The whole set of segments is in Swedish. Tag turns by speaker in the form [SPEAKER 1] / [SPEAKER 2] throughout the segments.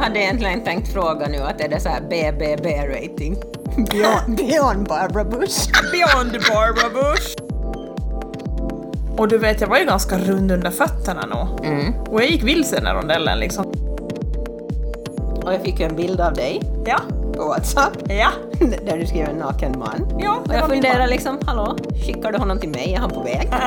[SPEAKER 1] hade egentligen tänkt fråga nu att är det så här BBB-rating? Beyond, beyond Barbara Bush.
[SPEAKER 2] Beyond Barbara Bush. Och du vet, jag var ju ganska rund under fötterna nog.
[SPEAKER 1] Mm.
[SPEAKER 2] Och jag gick vilse i den här rondellen liksom.
[SPEAKER 1] Och jag fick ju en bild av dig
[SPEAKER 2] Ja,
[SPEAKER 1] på Whatsapp
[SPEAKER 2] ja,
[SPEAKER 1] där du skrev en naken man.
[SPEAKER 2] ja.
[SPEAKER 1] Och
[SPEAKER 2] det var
[SPEAKER 1] jag
[SPEAKER 2] min
[SPEAKER 1] funderar
[SPEAKER 2] man.
[SPEAKER 1] liksom, hallå, skickar du honom till mig? Är han på väg?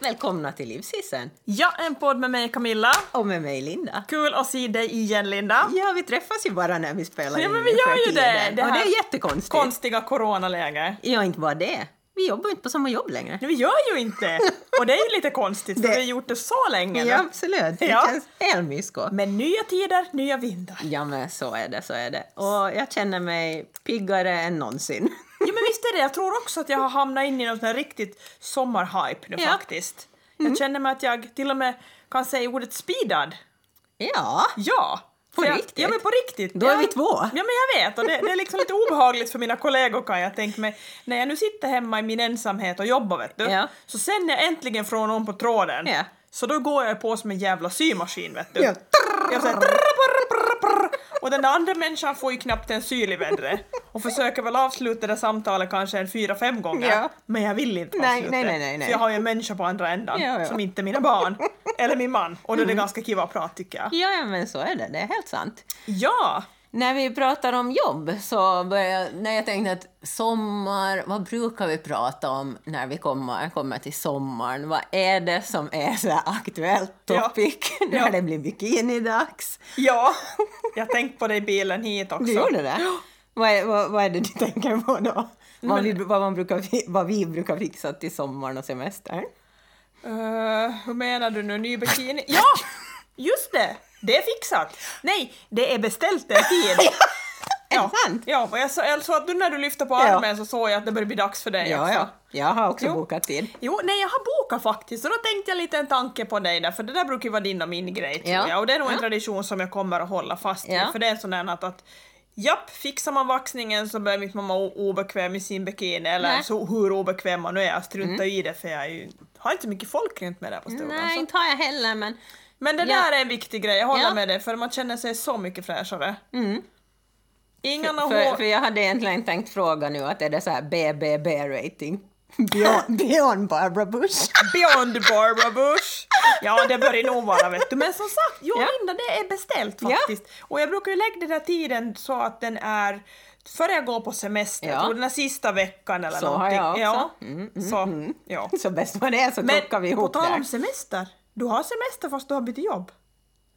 [SPEAKER 1] Välkomna till Livshissen!
[SPEAKER 2] Ja, en podd med mig Camilla.
[SPEAKER 1] Och med mig Linda.
[SPEAKER 2] Kul att se dig igen Linda.
[SPEAKER 1] Ja, vi träffas ju bara när vi spelar
[SPEAKER 2] Ja,
[SPEAKER 1] in
[SPEAKER 2] men vi
[SPEAKER 1] nu för
[SPEAKER 2] gör ju
[SPEAKER 1] tiden.
[SPEAKER 2] det. Det
[SPEAKER 1] Och det
[SPEAKER 2] här-
[SPEAKER 1] är jättekonstigt.
[SPEAKER 2] Konstiga coronaläger.
[SPEAKER 1] ja, inte bara det. Vi jobbar ju inte på samma jobb längre.
[SPEAKER 2] Nej, vi gör ju inte! Och det är ju lite konstigt för
[SPEAKER 1] Det-
[SPEAKER 2] vi har gjort det så länge nu.
[SPEAKER 1] Ja, absolut. Det
[SPEAKER 2] Ja.
[SPEAKER 1] känns helt mysko.
[SPEAKER 2] Men nya tider, nya vindar.
[SPEAKER 1] Ja, men så är det, så är det. Och jag känner mig piggare än någonsin.
[SPEAKER 2] Jo men visst är det, jag tror också att jag har hamnat in i någon sån här riktigt sommarhype nu
[SPEAKER 1] Ja. Mm.
[SPEAKER 2] faktiskt. Jag känner mig att jag till och med kan säga ordet speedad.
[SPEAKER 1] Ja,
[SPEAKER 2] Ja!
[SPEAKER 1] På
[SPEAKER 2] För jag,
[SPEAKER 1] riktigt?
[SPEAKER 2] Ja men på riktigt.
[SPEAKER 1] Då
[SPEAKER 2] ja.
[SPEAKER 1] är vi två.
[SPEAKER 2] Ja men jag vet och det, det är liksom lite obehagligt för mina kollegor kan jag tänka mig. När jag nu sitter hemma i min ensamhet och jobbar vet du.
[SPEAKER 1] Ja.
[SPEAKER 2] Så sen när jag äntligen får någon på tråden
[SPEAKER 1] Ja.
[SPEAKER 2] så då går jag på som en jävla symaskin vet du.
[SPEAKER 1] Ja.
[SPEAKER 2] Jag säger trrr, brr, brr, brr. Och den andra människan får ju knappt en syl i vädret. Och försöker väl avsluta det samtalet kanske en fyra, fem gånger.
[SPEAKER 1] Ja.
[SPEAKER 2] Men jag vill inte
[SPEAKER 1] Nej,
[SPEAKER 2] avsluta
[SPEAKER 1] nej,
[SPEAKER 2] det.
[SPEAKER 1] nej, nej, nej.
[SPEAKER 2] För jag har ju en människa på andra änden
[SPEAKER 1] Ja, Mm. ja.
[SPEAKER 2] som inte är mina barn. Eller min man. Och då är det ganska kiva att prata tycker jag.
[SPEAKER 1] ja, ja, men så är det. Det är helt sant.
[SPEAKER 2] Ja!
[SPEAKER 1] När vi pratar om jobb så börjar jag, när jag tänkte att sommar, vad brukar vi prata om när vi kommer, kommer till sommaren? Vad är det som är så här aktuellt
[SPEAKER 2] Ja.
[SPEAKER 1] topic när
[SPEAKER 2] Ja.
[SPEAKER 1] det blir bikinidags?
[SPEAKER 2] Ja, jag tänkte på det i bilen hit också.
[SPEAKER 1] Du gjorde det? Vad är, vad, vad är det du tänker på då? Vad, vi, vad, man brukar, fi- vad vi brukar fixa till sommaren och semestern?
[SPEAKER 2] Eh, hur menar du nu, ny bikini? Ja! Just det! Det är fixat! Nej, det är beställt det är tid.
[SPEAKER 1] Är det sant?
[SPEAKER 2] Ja, och jag, så, jag såg att du när du lyfte på
[SPEAKER 1] Ja.
[SPEAKER 2] armen så såg jag att det började bli dags för dig
[SPEAKER 1] Ja,
[SPEAKER 2] också.
[SPEAKER 1] ja. Jag har också
[SPEAKER 2] Jo.
[SPEAKER 1] bokat tid.
[SPEAKER 2] Jo, nej jag har bokat faktiskt och då tänkte jag lite en tanke på dig där för det där brukar ju vara din och min grej tror
[SPEAKER 1] Ja.
[SPEAKER 2] jag och det är nog
[SPEAKER 1] Ja.
[SPEAKER 2] en tradition som jag kommer att hålla fast vid
[SPEAKER 1] Ja.
[SPEAKER 2] för det är sån där att, att Japp, fixar man vaxningen så blir inte mamma o- obekväm i sin bikini eller
[SPEAKER 1] Nej. Mm.
[SPEAKER 2] så, hur obekväm man nu är, jag struntar ju i det för jag är ju, har inte så mycket folk runt mig där på stugan.
[SPEAKER 1] Nej,
[SPEAKER 2] Så.
[SPEAKER 1] inte har jag heller, men
[SPEAKER 2] Men det
[SPEAKER 1] Ja.
[SPEAKER 2] där är en viktig grej, jag håller
[SPEAKER 1] Ja.
[SPEAKER 2] med dig för man känner sig så mycket fräschare.
[SPEAKER 1] Mm.
[SPEAKER 2] Inga några
[SPEAKER 1] För,
[SPEAKER 2] hår...
[SPEAKER 1] för jag hade egentligen tänkt fråga nu att är det så här BBB-rating? Beyond, beyond Barbara Bush.
[SPEAKER 2] Beyond Barbara Bush! Ja, det börjar nog vara vet du. Men som sagt, jag och
[SPEAKER 1] Ja.
[SPEAKER 2] Linda, det är beställt
[SPEAKER 1] Ja.
[SPEAKER 2] faktiskt. Och jag brukar ju lägga den där tiden så att den är före jag går på semester,
[SPEAKER 1] Ja.
[SPEAKER 2] jag tror den här sista veckan eller
[SPEAKER 1] Så har
[SPEAKER 2] någonting.
[SPEAKER 1] jag också. Mm,
[SPEAKER 2] Ja. så, ja.
[SPEAKER 1] Så bäst vad det är så klockar vi
[SPEAKER 2] Men på
[SPEAKER 1] ihop
[SPEAKER 2] tal om
[SPEAKER 1] det.
[SPEAKER 2] semester, du har semester fast du har bytt jobb.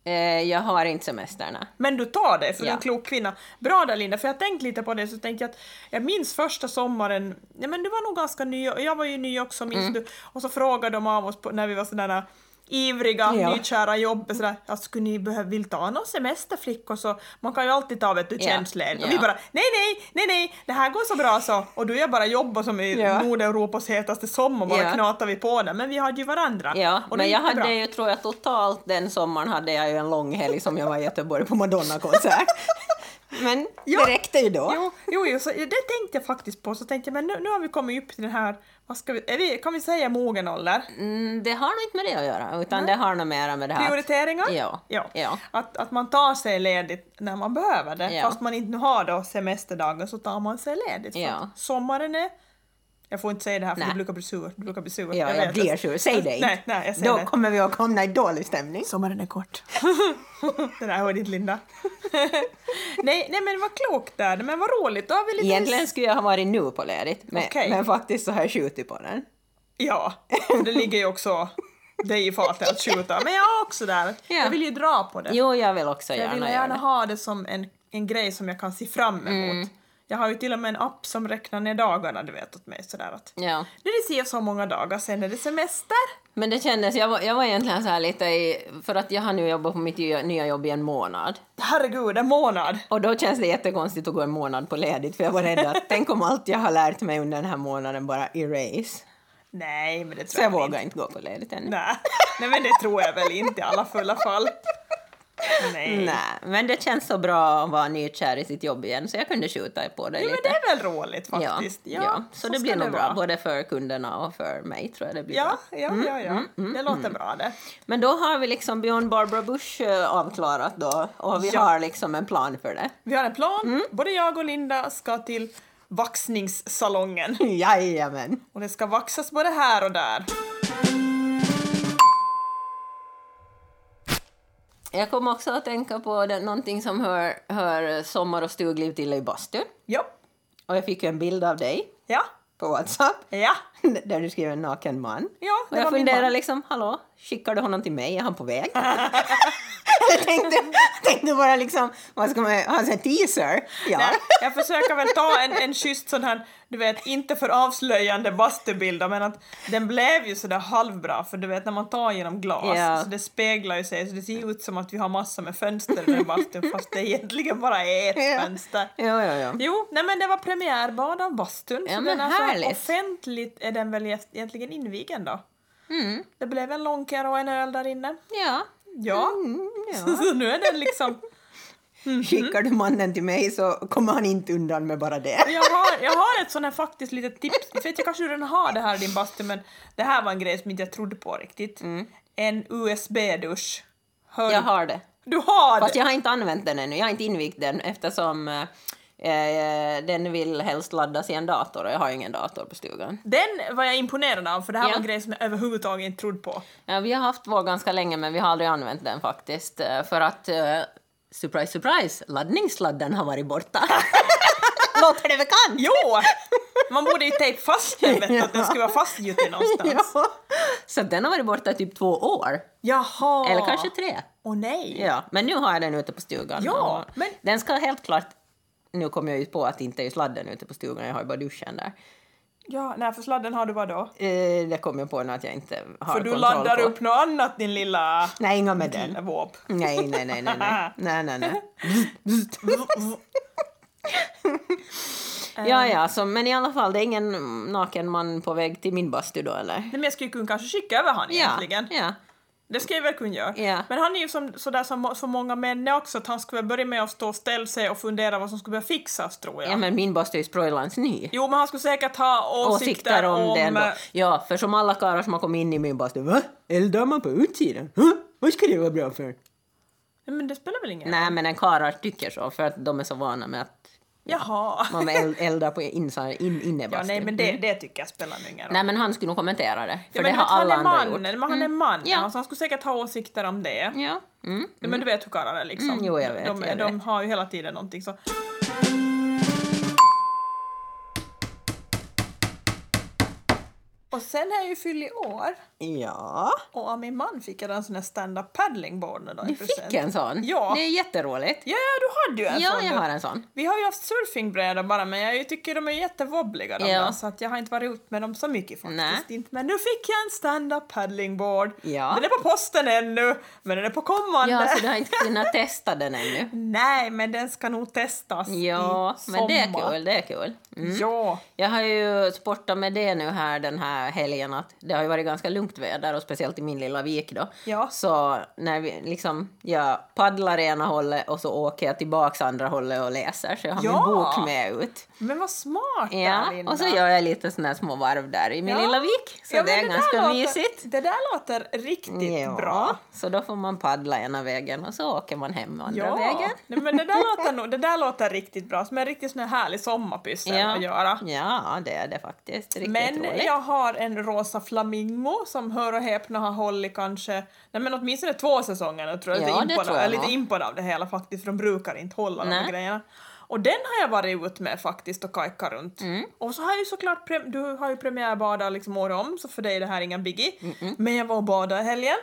[SPEAKER 1] Eh, jag har inte semesterna.
[SPEAKER 2] Men du tar det, för du är en
[SPEAKER 1] Ja.
[SPEAKER 2] klok kvinna. Bra där Linda, för jag tänkte lite på det så tänkte jag att jag minns första sommaren, ja men du var nog ganska ny, och jag var ju ny också
[SPEAKER 1] Mm.
[SPEAKER 2] minns du, och så frågade de av oss på, när vi var sådana ivriga,
[SPEAKER 1] Ja.
[SPEAKER 2] nykära i jobbet sådär, ja, skulle ni behöva, vill ta någon semesterflickor så, man kan ju alltid ta vet du,
[SPEAKER 1] Ja.
[SPEAKER 2] tjänstledigt.
[SPEAKER 1] Ja.
[SPEAKER 2] Och vi bara, nej nej, nej nej, det här går så bra så, och du och jag bara jobbar som i
[SPEAKER 1] Ja.
[SPEAKER 2] Nordeuropas hetaste sommar, bara
[SPEAKER 1] Ja.
[SPEAKER 2] knatar vi på det, men vi hade ju varandra.
[SPEAKER 1] Ja,
[SPEAKER 2] och det
[SPEAKER 1] men jag
[SPEAKER 2] gick
[SPEAKER 1] hade
[SPEAKER 2] bra.
[SPEAKER 1] ju, tror jag, totalt den sommaren hade jag ju en lång helg som jag var i Göteborg på Madonna-konsert. Men
[SPEAKER 2] Ja.
[SPEAKER 1] det räckte ju då.
[SPEAKER 2] Jo, jo, jo så det tänkte jag faktiskt på. Så tänkte jag, men nu, nu har vi kommit upp till den här, vad ska vi, är vi, kan vi säga mogen ålder?
[SPEAKER 1] Mm, det har nog inte med det att göra, utan det har nog mera med det här. att-
[SPEAKER 2] Prioriteringar?
[SPEAKER 1] Ja,
[SPEAKER 2] ja.
[SPEAKER 1] ja.
[SPEAKER 2] Att, att man tar sig ledigt när man behöver det.
[SPEAKER 1] Ja.
[SPEAKER 2] Fast man inte nu har då semesterdagar så tar man sig ledigt. För
[SPEAKER 1] Ja.
[SPEAKER 2] att Sommaren är... Jag får inte säga det här för
[SPEAKER 1] Nej.
[SPEAKER 2] du brukar bli sur. Du brukar bli sur.
[SPEAKER 1] Ja, jag,
[SPEAKER 2] vet det.
[SPEAKER 1] blir sur. Säg det inte.
[SPEAKER 2] Nej, nej, jag säger
[SPEAKER 1] Då
[SPEAKER 2] det.
[SPEAKER 1] kommer vi att hamna i dålig stämning.
[SPEAKER 2] Sommaren är kort. det där hörde inte Linda. nej, nej, men vad klokt där. Men vad roligt. Då har vi lite...
[SPEAKER 1] Egentligen skulle jag ha varit nu på ledigt, men,
[SPEAKER 2] Okej.
[SPEAKER 1] men faktiskt så har jag skjutit på den.
[SPEAKER 2] Ja, för det ligger ju också dig i fatet att skjuta. Men jag är också där.
[SPEAKER 1] Ja.
[SPEAKER 2] Jag vill ju dra på det.
[SPEAKER 1] Jo, jag vill också
[SPEAKER 2] jag
[SPEAKER 1] gärna,
[SPEAKER 2] vill
[SPEAKER 1] göra
[SPEAKER 2] gärna
[SPEAKER 1] det. Mm.
[SPEAKER 2] ha det som en, en grej som jag kan se fram emot. Jag har ju till och med en app som räknar ner dagarna, du vet, åt mig sådär att
[SPEAKER 1] Ja.
[SPEAKER 2] nu är det si och så många dagar, sen är det semester.
[SPEAKER 1] Men det kändes, jag var, jag var egentligen så här lite i, för att jag har nu jobbat på mitt nya- nya jobb i en månad.
[SPEAKER 2] Herregud, en månad!
[SPEAKER 1] Och då känns det jättekonstigt att gå en månad på ledigt för jag var rädd att tänk om allt jag har lärt mig under den här månaden bara erase.
[SPEAKER 2] Nej, men det tror
[SPEAKER 1] Så jag
[SPEAKER 2] väl
[SPEAKER 1] vågar inte gå på ledigt ännu.
[SPEAKER 2] Nej. Nej, men det tror jag väl inte i alla fulla fall. Nej.
[SPEAKER 1] Nej, men det känns så bra att vara nykär i sitt jobb igen så jag kunde skjuta på det
[SPEAKER 2] Jo, men
[SPEAKER 1] lite.
[SPEAKER 2] det är väl roligt faktiskt.
[SPEAKER 1] Ja, ja. Så, det
[SPEAKER 2] ska
[SPEAKER 1] blir nog bra, Mm,
[SPEAKER 2] vara.
[SPEAKER 1] både för kunderna och för mig tror jag det blir bra.
[SPEAKER 2] Ja, ja, ja, ja. det låter
[SPEAKER 1] mm.
[SPEAKER 2] bra det.
[SPEAKER 1] Men då har vi liksom Beyond Barbara Bush eh, avklarat då och vi
[SPEAKER 2] Ja.
[SPEAKER 1] har liksom en plan för det.
[SPEAKER 2] Vi har en plan.
[SPEAKER 1] Mm.
[SPEAKER 2] Både jag och Linda ska till vaxningssalongen.
[SPEAKER 1] Jajamän!
[SPEAKER 2] Och det ska vaxas både här och där.
[SPEAKER 1] Jag kom också att tänka på det, någonting som hör, hör sommar och stugliv till i bastun.
[SPEAKER 2] Jo.
[SPEAKER 1] Och jag fick ju en bild av dig
[SPEAKER 2] Ja.
[SPEAKER 1] på Whatsapp
[SPEAKER 2] Ja.
[SPEAKER 1] där du skrev en naken man.
[SPEAKER 2] Ja, det
[SPEAKER 1] och jag
[SPEAKER 2] var min
[SPEAKER 1] funderar
[SPEAKER 2] man.
[SPEAKER 1] liksom, hallå, skickar du honom till mig? Är han på väg? jag tänkte, tänkte bara liksom, vad ska man, ha en sån här teaser? Ja.
[SPEAKER 2] Nej, jag försöker väl ta en, en schysst sån här, du vet, inte för avslöjande bastubilder men att den blev ju sådär halvbra för du vet när man tar genom glas
[SPEAKER 1] Ja.
[SPEAKER 2] så det speglar ju sig så det ser ju ut som att vi har massor med fönster i den här bastun fast det egentligen bara är ett
[SPEAKER 1] Ja.
[SPEAKER 2] fönster.
[SPEAKER 1] Ja, ja, ja.
[SPEAKER 2] Jo, nej men det var premiärbad av bastun
[SPEAKER 1] Ja,
[SPEAKER 2] så
[SPEAKER 1] men
[SPEAKER 2] den är så
[SPEAKER 1] härligt.
[SPEAKER 2] offentligt är den väl egentligen invigen då.
[SPEAKER 1] Mm,
[SPEAKER 2] Det blev en långkär och en öl där inne.
[SPEAKER 1] ja.
[SPEAKER 2] Ja,
[SPEAKER 1] Mm,
[SPEAKER 2] så,
[SPEAKER 1] ja.
[SPEAKER 2] så nu är den liksom
[SPEAKER 1] Skickar du mannen till mig så kommer han inte undan med bara det.
[SPEAKER 2] jag har, jag har ett sånt här faktiskt litet tips. Jag vet jag kanske du redan har det här i din bastu men det här var en grej som inte jag trodde på riktigt.
[SPEAKER 1] Mm.
[SPEAKER 2] En USB-dusch. Hör
[SPEAKER 1] Jag har det.
[SPEAKER 2] Du har
[SPEAKER 1] Fast
[SPEAKER 2] det!
[SPEAKER 1] jag har inte använt den ännu, jag har inte invigt den eftersom eh, eh, den vill helst laddas i en dator och jag har ju ingen dator på stugan.
[SPEAKER 2] Den var jag imponerad av för det här
[SPEAKER 1] Ja.
[SPEAKER 2] var en grej som jag överhuvudtaget inte trodde på.
[SPEAKER 1] Ja, vi har haft vår ganska länge men vi har aldrig använt den faktiskt eh, för att eh, surprise surprise, laddningssladden har varit borta. Låter det bekant?
[SPEAKER 2] Jo! Man borde ju tejpa fast den vet du, att den skulle vara fastgjuten någonstans.
[SPEAKER 1] Ja. Så den har varit borta i typ två år,
[SPEAKER 2] Jaha!
[SPEAKER 1] eller kanske tre.
[SPEAKER 2] Åh nej!
[SPEAKER 1] Ja, men nu har jag den ute på stugan.
[SPEAKER 2] Ja,
[SPEAKER 1] Och
[SPEAKER 2] men-
[SPEAKER 1] Den ska helt klart... Nu kommer jag ju på att det inte är sladden ute på stugan, jag har ju bara duschen där.
[SPEAKER 2] Ja, nej för sladden har du vad då?
[SPEAKER 1] Eh, det kom jag på nu att jag inte har
[SPEAKER 2] För du
[SPEAKER 1] kontroll
[SPEAKER 2] laddar
[SPEAKER 1] på.
[SPEAKER 2] upp något annat din lilla
[SPEAKER 1] Nej, inga med den.
[SPEAKER 2] våp.
[SPEAKER 1] Nej, nej, nej, nej, nej, nej, nej, nej.
[SPEAKER 2] Eh.
[SPEAKER 1] Ja, ja, så, men i alla fall, det är ingen naken man på väg till min bastu då, eller?
[SPEAKER 2] Nej men jag skulle kunna kanske skicka över han
[SPEAKER 1] Ja,
[SPEAKER 2] egentligen.
[SPEAKER 1] ja.
[SPEAKER 2] Det ska jag väl kunna göra.
[SPEAKER 1] Ja.
[SPEAKER 2] Men han är ju som, sådär som så många män är också, att han skulle väl börja med att stå och ställa sig och fundera vad som skulle behöva fixas tror jag.
[SPEAKER 1] Ja, men min bastu är ju sprillans ny.
[SPEAKER 2] Jo, men han skulle säkert ha åsikter,
[SPEAKER 1] Åsikter om, den då.
[SPEAKER 2] eh,
[SPEAKER 1] Ja, för som alla karlar som har kommit in i min bastu, va? Eldar man på utsidan? Huh? Vad ska det vara bra för?
[SPEAKER 2] Nej, men det spelar väl ingen roll?
[SPEAKER 1] Nej, men en karlar tycker så, för att de är så vana med att
[SPEAKER 2] Jaha.
[SPEAKER 1] man eld- eldar på insidan, in,
[SPEAKER 2] Ja,
[SPEAKER 1] innebastun.
[SPEAKER 2] nej, men det, det tycker jag spelar ingen roll.
[SPEAKER 1] Nej, men han skulle nog kommentera det, för
[SPEAKER 2] ja, men
[SPEAKER 1] det
[SPEAKER 2] du
[SPEAKER 1] har
[SPEAKER 2] vet, han
[SPEAKER 1] alla
[SPEAKER 2] är
[SPEAKER 1] andra
[SPEAKER 2] man,
[SPEAKER 1] gjort. Mm.
[SPEAKER 2] men han är man,
[SPEAKER 1] Ja.
[SPEAKER 2] ja. så han skulle säkert ha åsikter om det.
[SPEAKER 1] Ja. Mm.
[SPEAKER 2] Ja, Men du vet hur karlar är liksom.
[SPEAKER 1] Mm, jo, jag vet,
[SPEAKER 2] de,
[SPEAKER 1] jag
[SPEAKER 2] de
[SPEAKER 1] vet.
[SPEAKER 2] har ju hela tiden någonting så. Och sen har jag ju fyllt år
[SPEAKER 1] Ja,
[SPEAKER 2] och av min man fick jag en sån här stand-up paddlingboard nu då i
[SPEAKER 1] du fick en sån.
[SPEAKER 2] Ja.
[SPEAKER 1] Det är jätteroligt.
[SPEAKER 2] Ja, ja, du hade ju en
[SPEAKER 1] Ja,
[SPEAKER 2] sån.
[SPEAKER 1] jag
[SPEAKER 2] du.
[SPEAKER 1] har en sån.
[SPEAKER 2] Vi har ju haft surfingbrädor bara men jag tycker de är jättevobbliga de
[SPEAKER 1] Ja.
[SPEAKER 2] där, så att jag har inte varit ut med dem så mycket faktiskt.
[SPEAKER 1] Nej.
[SPEAKER 2] Inte. Men nu fick jag en stand-up paddlingboard.
[SPEAKER 1] Ja.
[SPEAKER 2] Den är på posten ännu men den är på kommande.
[SPEAKER 1] Ja, så du har inte kunnat testa den ännu.
[SPEAKER 2] Nej, men den ska nog testas
[SPEAKER 1] Ja,
[SPEAKER 2] i sommar.
[SPEAKER 1] men det är kul, det är kul. Mm.
[SPEAKER 2] Ja,
[SPEAKER 1] Jag har ju sportat med det nu här den här helgen att det har ju varit ganska lugnt väder och speciellt i min lilla vik då.
[SPEAKER 2] Ja.
[SPEAKER 1] Så när vi liksom, jag paddlar ena hållet och så åker jag tillbaks andra hållet och läser så jag har
[SPEAKER 2] Ja.
[SPEAKER 1] min bok med ut.
[SPEAKER 2] men vad smart
[SPEAKER 1] Ja,
[SPEAKER 2] där, Linda.
[SPEAKER 1] och så gör jag lite såna här små varv där i min
[SPEAKER 2] Ja.
[SPEAKER 1] lilla vik. Så
[SPEAKER 2] Ja,
[SPEAKER 1] det
[SPEAKER 2] men
[SPEAKER 1] är
[SPEAKER 2] där
[SPEAKER 1] ganska
[SPEAKER 2] låter,
[SPEAKER 1] mysigt.
[SPEAKER 2] Det där låter riktigt
[SPEAKER 1] Ja,
[SPEAKER 2] bra.
[SPEAKER 1] Så då får man paddla ena vägen och så åker man hem andra
[SPEAKER 2] Ja,
[SPEAKER 1] vägen.
[SPEAKER 2] Nej, men det där, låter, nog- det där låter riktigt bra, som en riktigt sån här härlig sommarpyssel att göra.
[SPEAKER 1] ja, det är det faktiskt. Riktigt
[SPEAKER 2] Men
[SPEAKER 1] roligt.
[SPEAKER 2] jag har en rosa flamingo som hör och häpna har hållit kanske, nej men åtminstone två säsonger nu tror jag.
[SPEAKER 1] Ja,
[SPEAKER 2] jag, är
[SPEAKER 1] det
[SPEAKER 2] impad,
[SPEAKER 1] tror jag
[SPEAKER 2] jag är lite
[SPEAKER 1] nog.
[SPEAKER 2] impad av det hela faktiskt för de brukar inte hålla de
[SPEAKER 1] Nej.
[SPEAKER 2] här grejerna. Och den har jag varit ut med faktiskt och kajkat runt.
[SPEAKER 1] Mm.
[SPEAKER 2] Och så har jag ju såklart, pre- du har ju premiärbadat liksom år om så för dig är det här ingen biggie. Men jag var och badade i helgen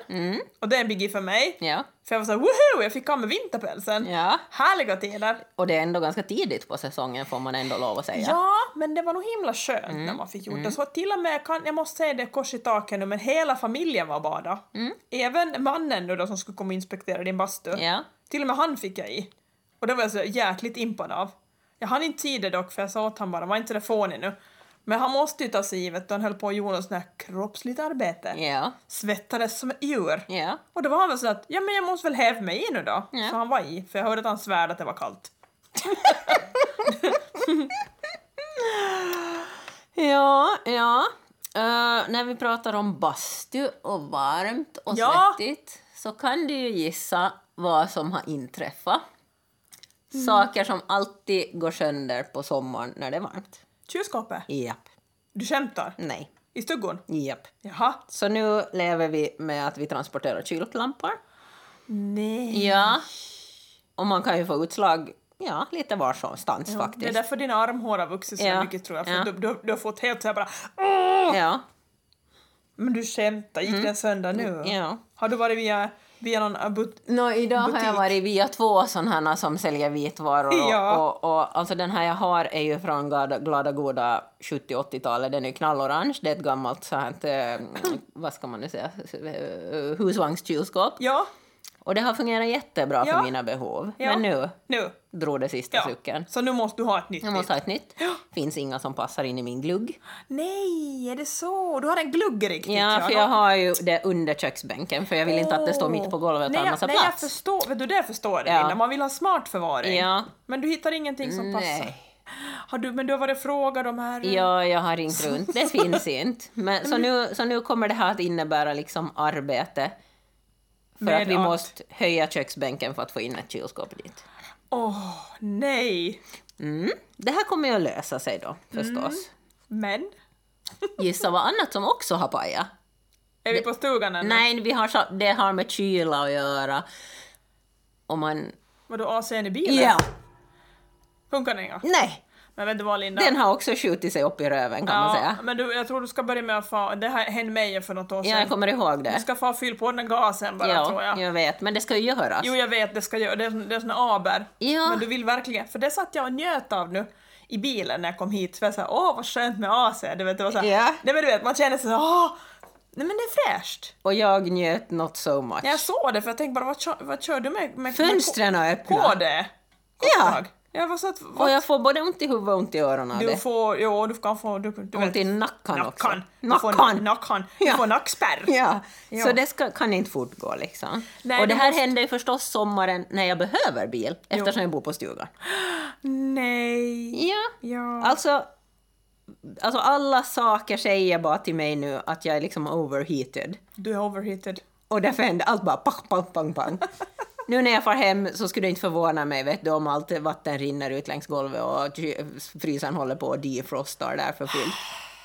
[SPEAKER 2] och det är en biggie för mig.
[SPEAKER 1] Mm. Ja.
[SPEAKER 2] För jag var såhär woho, jag fick av mig vinterpälsen.
[SPEAKER 1] ja,
[SPEAKER 2] Härliga tider!
[SPEAKER 1] och det är ändå ganska tidigt på säsongen får man ändå lov att säga.
[SPEAKER 2] Ja, men det var nog himla skönt när
[SPEAKER 1] Mm,
[SPEAKER 2] man fick gjort det. Så till och med, kan, jag måste säga det kors i taket nu, men hela familjen var bada. Även mannen nu då som skulle komma och inspektera din bastu.
[SPEAKER 1] Mm. Ja.
[SPEAKER 2] Till och med han fick jag i. Och det var jag så jäkligt impad av. Jag hann inte se det dock för jag sa åt han bara, var inte så där fånig nu. Men han måste ju ta sig givet då han höll på att göra något sånt här kroppsligt arbete.
[SPEAKER 1] Ja,
[SPEAKER 2] Svettades som ett djur.
[SPEAKER 1] ja.
[SPEAKER 2] Och då var han väl så att, ja men jag måste väl häva mig i nu då.
[SPEAKER 1] Ja.
[SPEAKER 2] Så han var i, för jag hörde att han svärde att det var kallt.
[SPEAKER 1] Ja, ja. Eh, när vi pratar om bastu och varmt och
[SPEAKER 2] Ja.
[SPEAKER 1] svettigt så kan du ju gissa vad som har inträffat.
[SPEAKER 2] Mm.
[SPEAKER 1] Saker som alltid går sönder på sommaren när det är varmt.
[SPEAKER 2] Kylskåpet?
[SPEAKER 1] Japp.
[SPEAKER 2] Du skämtar?
[SPEAKER 1] Nej.
[SPEAKER 2] I stuggon?
[SPEAKER 1] Japp.
[SPEAKER 2] Jaha.
[SPEAKER 1] Så nu lever vi med att vi transporterar kylklampar.
[SPEAKER 2] Nej.
[SPEAKER 1] Ja. Och man kan ju få utslag ja, lite varstans
[SPEAKER 2] Det är
[SPEAKER 1] faktiskt.
[SPEAKER 2] därför dina armhår har vuxit så
[SPEAKER 1] Ja.
[SPEAKER 2] mycket tror jag. För
[SPEAKER 1] Ja.
[SPEAKER 2] du, du, du har fått helt såhär bara
[SPEAKER 1] Ja.
[SPEAKER 2] Men du skämtar, gick den sönder nu?
[SPEAKER 1] Mm. ja.
[SPEAKER 2] Har du varit via, via någon abut...
[SPEAKER 1] Nå, idag har jag
[SPEAKER 2] Butik.
[SPEAKER 1] varit via två sådana som säljer vitvaror. Och,
[SPEAKER 2] Ja.
[SPEAKER 1] och, och, alltså den här jag har är ju från glada, glada goda 70-80-talet. Den är ju knallorange. Det är ett gammalt så här, ett, eh, vad ska man nu säga, eh, husvagnskylskåp.
[SPEAKER 2] Ja,
[SPEAKER 1] Och det har fungerat jättebra
[SPEAKER 2] Ja.
[SPEAKER 1] för mina behov.
[SPEAKER 2] Ja.
[SPEAKER 1] Men nu
[SPEAKER 2] nu.
[SPEAKER 1] drog det sista
[SPEAKER 2] Ja.
[SPEAKER 1] sucken.
[SPEAKER 2] Så nu måste du ha ett nytt
[SPEAKER 1] Jag måste ha ett nytt. Finns inga som passar in i min glugg.
[SPEAKER 2] Nej, är det så? Du har en glugg riktigt.
[SPEAKER 1] Ja, för jag har ju det under köksbänken för jag vill inte att det står mitt på golvet och
[SPEAKER 2] nej,
[SPEAKER 1] tar en
[SPEAKER 2] jag-
[SPEAKER 1] massa
[SPEAKER 2] nej,
[SPEAKER 1] plats.
[SPEAKER 2] jag förstår. Vet du, det förstår jag
[SPEAKER 1] Ja.
[SPEAKER 2] Linda. Man vill ha smart förvaring.
[SPEAKER 1] Ja.
[SPEAKER 2] Men du hittar ingenting som passar.
[SPEAKER 1] Nej.
[SPEAKER 2] Har du, men du har varit och frågat de här...
[SPEAKER 1] Ja, jag har ringt runt. Det finns inte. Men, så, nu, så nu kommer det här att innebära liksom arbete. För
[SPEAKER 2] Med
[SPEAKER 1] att vi
[SPEAKER 2] att-
[SPEAKER 1] måste höja köksbänken för att få in ett kylskåp dit.
[SPEAKER 2] Åh, nej.
[SPEAKER 1] Mm. Det här kommer ju att lösa sig då,
[SPEAKER 2] Mm.
[SPEAKER 1] förstås.
[SPEAKER 2] Men?
[SPEAKER 1] Gissa vad annat som också har pajat?
[SPEAKER 2] Är vi på stugan ännu?
[SPEAKER 1] Nej, vi har, så- det har med kyla att göra. Om man...
[SPEAKER 2] Vadå, AC'n i bilen?
[SPEAKER 1] Ja!
[SPEAKER 2] Funkar den inga?
[SPEAKER 1] Nej!
[SPEAKER 2] Men vet du vad Linda?
[SPEAKER 1] Den har också skjutit sig upp i röven kan man säga.
[SPEAKER 2] men du, jag tror du ska börja med att få... Det här hände mig för något år
[SPEAKER 1] Ja, jag
[SPEAKER 2] sedan.
[SPEAKER 1] kommer ihåg
[SPEAKER 2] Du
[SPEAKER 1] det.
[SPEAKER 2] ska få fylla på den här gasen bara tror
[SPEAKER 1] Ja,
[SPEAKER 2] jag.
[SPEAKER 1] jag vet. Men det ska ju göras.
[SPEAKER 2] Jo, jag vet, det ska göra. Det är, det är såna aber.
[SPEAKER 1] Ja.
[SPEAKER 2] Men du vill verkligen, för det satt jag och njöt av nu i bilen när jag kom hit. För jag sa, åh vad skönt med AC. Du vet, det var så här,
[SPEAKER 1] Ja.
[SPEAKER 2] nej, men du vet, man känner sig så här, åh, nej men det är fräscht.
[SPEAKER 1] Och jag njöt not so much.
[SPEAKER 2] När jag såg det, för jag tänkte bara, vad kör, vad kör du med? med
[SPEAKER 1] Fönstren har
[SPEAKER 2] med
[SPEAKER 1] öppnat.
[SPEAKER 2] KD?
[SPEAKER 1] Ja.
[SPEAKER 2] Jag var så att,
[SPEAKER 1] Och
[SPEAKER 2] vad,
[SPEAKER 1] jag får både ont i huvudet och ont i öronen av
[SPEAKER 2] du
[SPEAKER 1] det.
[SPEAKER 2] får, jo du kan få, du, du
[SPEAKER 1] Ont
[SPEAKER 2] vet,
[SPEAKER 1] i nacken också.
[SPEAKER 2] nackan. Du får
[SPEAKER 1] Nackan!
[SPEAKER 2] nackan. Du
[SPEAKER 1] Ja.
[SPEAKER 2] får nackspärr.
[SPEAKER 1] Ja.
[SPEAKER 2] Ja.
[SPEAKER 1] Så det ska, kan inte fortgå liksom.
[SPEAKER 2] Nej,
[SPEAKER 1] och det
[SPEAKER 2] det
[SPEAKER 1] här
[SPEAKER 2] måste-
[SPEAKER 1] händer ju förstås sommaren när jag behöver bil eftersom jag bor på stugan.
[SPEAKER 2] Nej.
[SPEAKER 1] Ja.
[SPEAKER 2] Ja.
[SPEAKER 1] Alltså, alltså alla saker säger bara till mig nu att jag är liksom overheated.
[SPEAKER 2] Du är overheated.
[SPEAKER 1] Och därför händer allt bara pang, pang, pang, pang. Nu när jag far hem så skulle det inte förvåna mig vet du, om allt vatten rinner ut längs golvet och ky- frysaren håller på och defrostar där för fullt.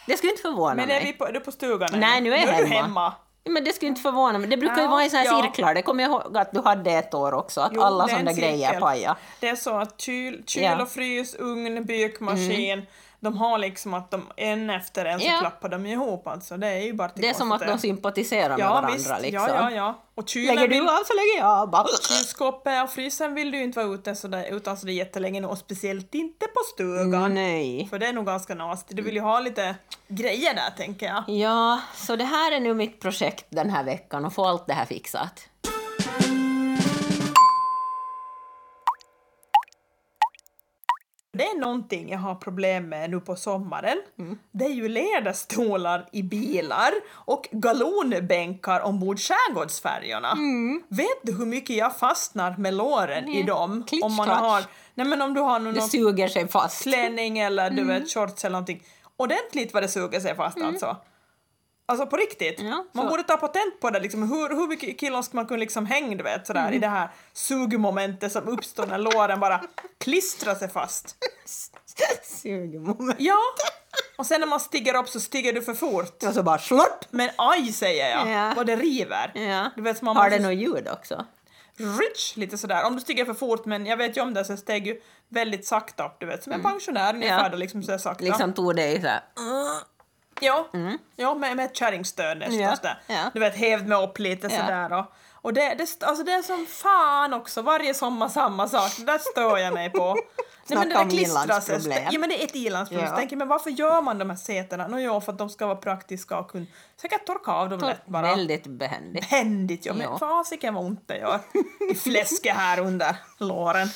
[SPEAKER 1] Det skulle inte förvåna
[SPEAKER 2] Men är,
[SPEAKER 1] mig.
[SPEAKER 2] vi på, är du på stugan än?
[SPEAKER 1] Nej, nu är jag
[SPEAKER 2] är du
[SPEAKER 1] hemma.
[SPEAKER 2] hemma.
[SPEAKER 1] Men det skulle inte förvåna mig. Det brukar ju
[SPEAKER 2] Ja,
[SPEAKER 1] vara i såna här
[SPEAKER 2] ja.
[SPEAKER 1] cirklar. Det kommer jag ihåg att du hade ett år också, att
[SPEAKER 2] Jo,
[SPEAKER 1] alla
[SPEAKER 2] det är en
[SPEAKER 1] sådana grejer
[SPEAKER 2] cirkel.
[SPEAKER 1] pajar.
[SPEAKER 2] Det är så att kyl, kyl
[SPEAKER 1] Ja. Mm.
[SPEAKER 2] och frys, ugn, bykmaskin, de har liksom att de en efter en så
[SPEAKER 1] Ja.
[SPEAKER 2] klappar de ihop alltså. Det är ju bara till
[SPEAKER 1] Det är som att
[SPEAKER 2] konstigt.
[SPEAKER 1] de sympatiserar med
[SPEAKER 2] ja,
[SPEAKER 1] varandra
[SPEAKER 2] visst.
[SPEAKER 1] liksom.
[SPEAKER 2] Ja, ja, ja. Och kylen
[SPEAKER 1] Lägger
[SPEAKER 2] vill,
[SPEAKER 1] du av så lägger jag av. Bara...
[SPEAKER 2] kylskåpet och frysen vill du ju inte vara ute så där, utan så det är jättelänge nu och speciellt inte på stugan.
[SPEAKER 1] Nej.
[SPEAKER 2] För det är nog ganska nasty. Du vill ju ha lite grejer där tänker jag.
[SPEAKER 1] Mm. Ja, så det här är nu mitt projekt den här veckan, att få allt det här fixat.
[SPEAKER 2] Det är någonting jag har problem med nu på sommaren.
[SPEAKER 1] Mm.
[SPEAKER 2] Det är ju ledarstolar i bilar och galonbänkar ombord skärgårdsfärjorna.
[SPEAKER 1] Mm.
[SPEAKER 2] Vet du hur mycket jag fastnar med låren i dem?
[SPEAKER 1] Klitsch,
[SPEAKER 2] om man
[SPEAKER 1] klatsch.
[SPEAKER 2] har, nej men om du har någon
[SPEAKER 1] Det suger sig fast.
[SPEAKER 2] klänning eller
[SPEAKER 1] Mm.
[SPEAKER 2] du vet shorts eller någonting. Ordentligt vad det suger sig fast alltså. Alltså på riktigt.
[SPEAKER 1] Ja,
[SPEAKER 2] man
[SPEAKER 1] så-
[SPEAKER 2] borde ta patent på det liksom. Hur, hur mycket kilon ska man kunna liksom hänga du vet sådär
[SPEAKER 1] Mm.
[SPEAKER 2] i det här sugmomentet som uppstår när låren bara klistrar sig fast.
[SPEAKER 1] Sugmoment.
[SPEAKER 2] Ja. Och sen när man stiger upp så stiger du för fort.
[SPEAKER 1] Och så bara slurp!
[SPEAKER 2] Men aj säger jag,
[SPEAKER 1] Ja.
[SPEAKER 2] vad det river.
[SPEAKER 1] Ja.
[SPEAKER 2] Du vet, man
[SPEAKER 1] Har
[SPEAKER 2] har
[SPEAKER 1] det
[SPEAKER 2] måste
[SPEAKER 1] något ljud också?
[SPEAKER 2] rich lite sådär. Om du stiger för fort, men jag vet ju om det så jag steg ju väldigt sakta upp, du vet. Som en pensionär ungefär,
[SPEAKER 1] Mm. Ja.
[SPEAKER 2] då liksom så sakta.
[SPEAKER 1] Liksom tog det i så här.
[SPEAKER 2] Ja, ja med, med ett kärringstöd nästan
[SPEAKER 1] Mm. Ja.
[SPEAKER 2] sådär.
[SPEAKER 1] Ja.
[SPEAKER 2] Du vet, hävd mig upp lite
[SPEAKER 1] Ja.
[SPEAKER 2] sådär och, och det, det, st- alltså det är som fan också, varje sommar samma sak, det där stör jag mig på.
[SPEAKER 1] Snacka
[SPEAKER 2] det där
[SPEAKER 1] om
[SPEAKER 2] klistrar sig.
[SPEAKER 1] i-landsproblem.
[SPEAKER 2] Ja men det är ett i-landsproblem.
[SPEAKER 1] Ja.
[SPEAKER 2] Ja. Tänker, men varför gör man de här setena? Nå jo, för att de ska vara praktiska och kunna säkert torka av
[SPEAKER 1] Mm.
[SPEAKER 2] dem lätt bara.
[SPEAKER 1] Väldigt behändigt.
[SPEAKER 2] Händigt ja, men
[SPEAKER 1] Ja.
[SPEAKER 2] fasiken vad ont det gör i fläsket här under låren.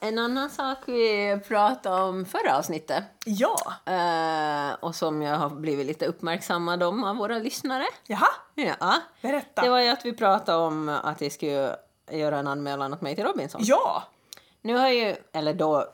[SPEAKER 1] En annan sak vi pratade om förra avsnittet
[SPEAKER 2] Ja.
[SPEAKER 1] eh, och som jag har blivit lite uppmärksammad om av våra lyssnare.
[SPEAKER 2] Jaha,
[SPEAKER 1] Ja.
[SPEAKER 2] berätta.
[SPEAKER 1] Det var ju att vi pratade om att vi skulle göra en anmälan åt mig till Robinson.
[SPEAKER 2] Ja.
[SPEAKER 1] Nu har ju, eller då,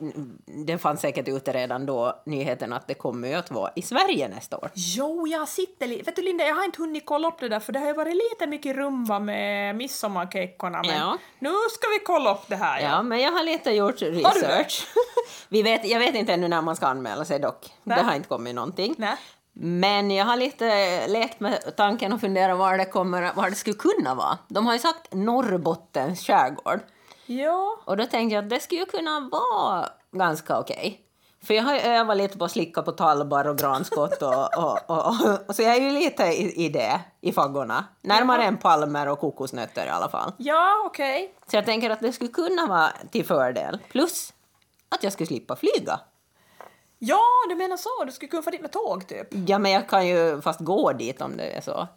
[SPEAKER 1] den fanns säkert ute redan då, nyheten att det kommer ju att vara i Sverige nästa år.
[SPEAKER 2] Jo, jag sitter lite... Vet du Linda, jag har inte hunnit kolla upp det där för det har ju varit lite mycket rumba med midsommarkekorna men
[SPEAKER 1] Ja.
[SPEAKER 2] nu ska vi kolla upp det här.
[SPEAKER 1] Ja, men jag har lite gjort
[SPEAKER 2] du det?
[SPEAKER 1] research. Vi vet, jag vet inte ännu när man ska anmäla sig dock.
[SPEAKER 2] Nej.
[SPEAKER 1] Det har inte kommit någonting.
[SPEAKER 2] Nej.
[SPEAKER 1] Men jag har lite lekt med tanken och funderat var det, kommer, var det skulle kunna vara. De har ju sagt Norrbottens skärgård.
[SPEAKER 2] Ja.
[SPEAKER 1] Och då tänkte jag att det skulle ju kunna vara ganska okej. För jag har ju övat lite på att slicka på talbar och granskott och, och, och, och, så jag är ju lite i, i det, i faggorna. Närmare än palmer och kokosnötter i alla fall.
[SPEAKER 2] Ja, okej.
[SPEAKER 1] Så jag tänker att det skulle kunna vara till fördel. Plus att jag skulle slippa flyga.
[SPEAKER 2] Ja, du menar så. Du skulle kunna få dit med tåg typ.
[SPEAKER 1] Ja, men jag kan ju fast gå dit om det är så.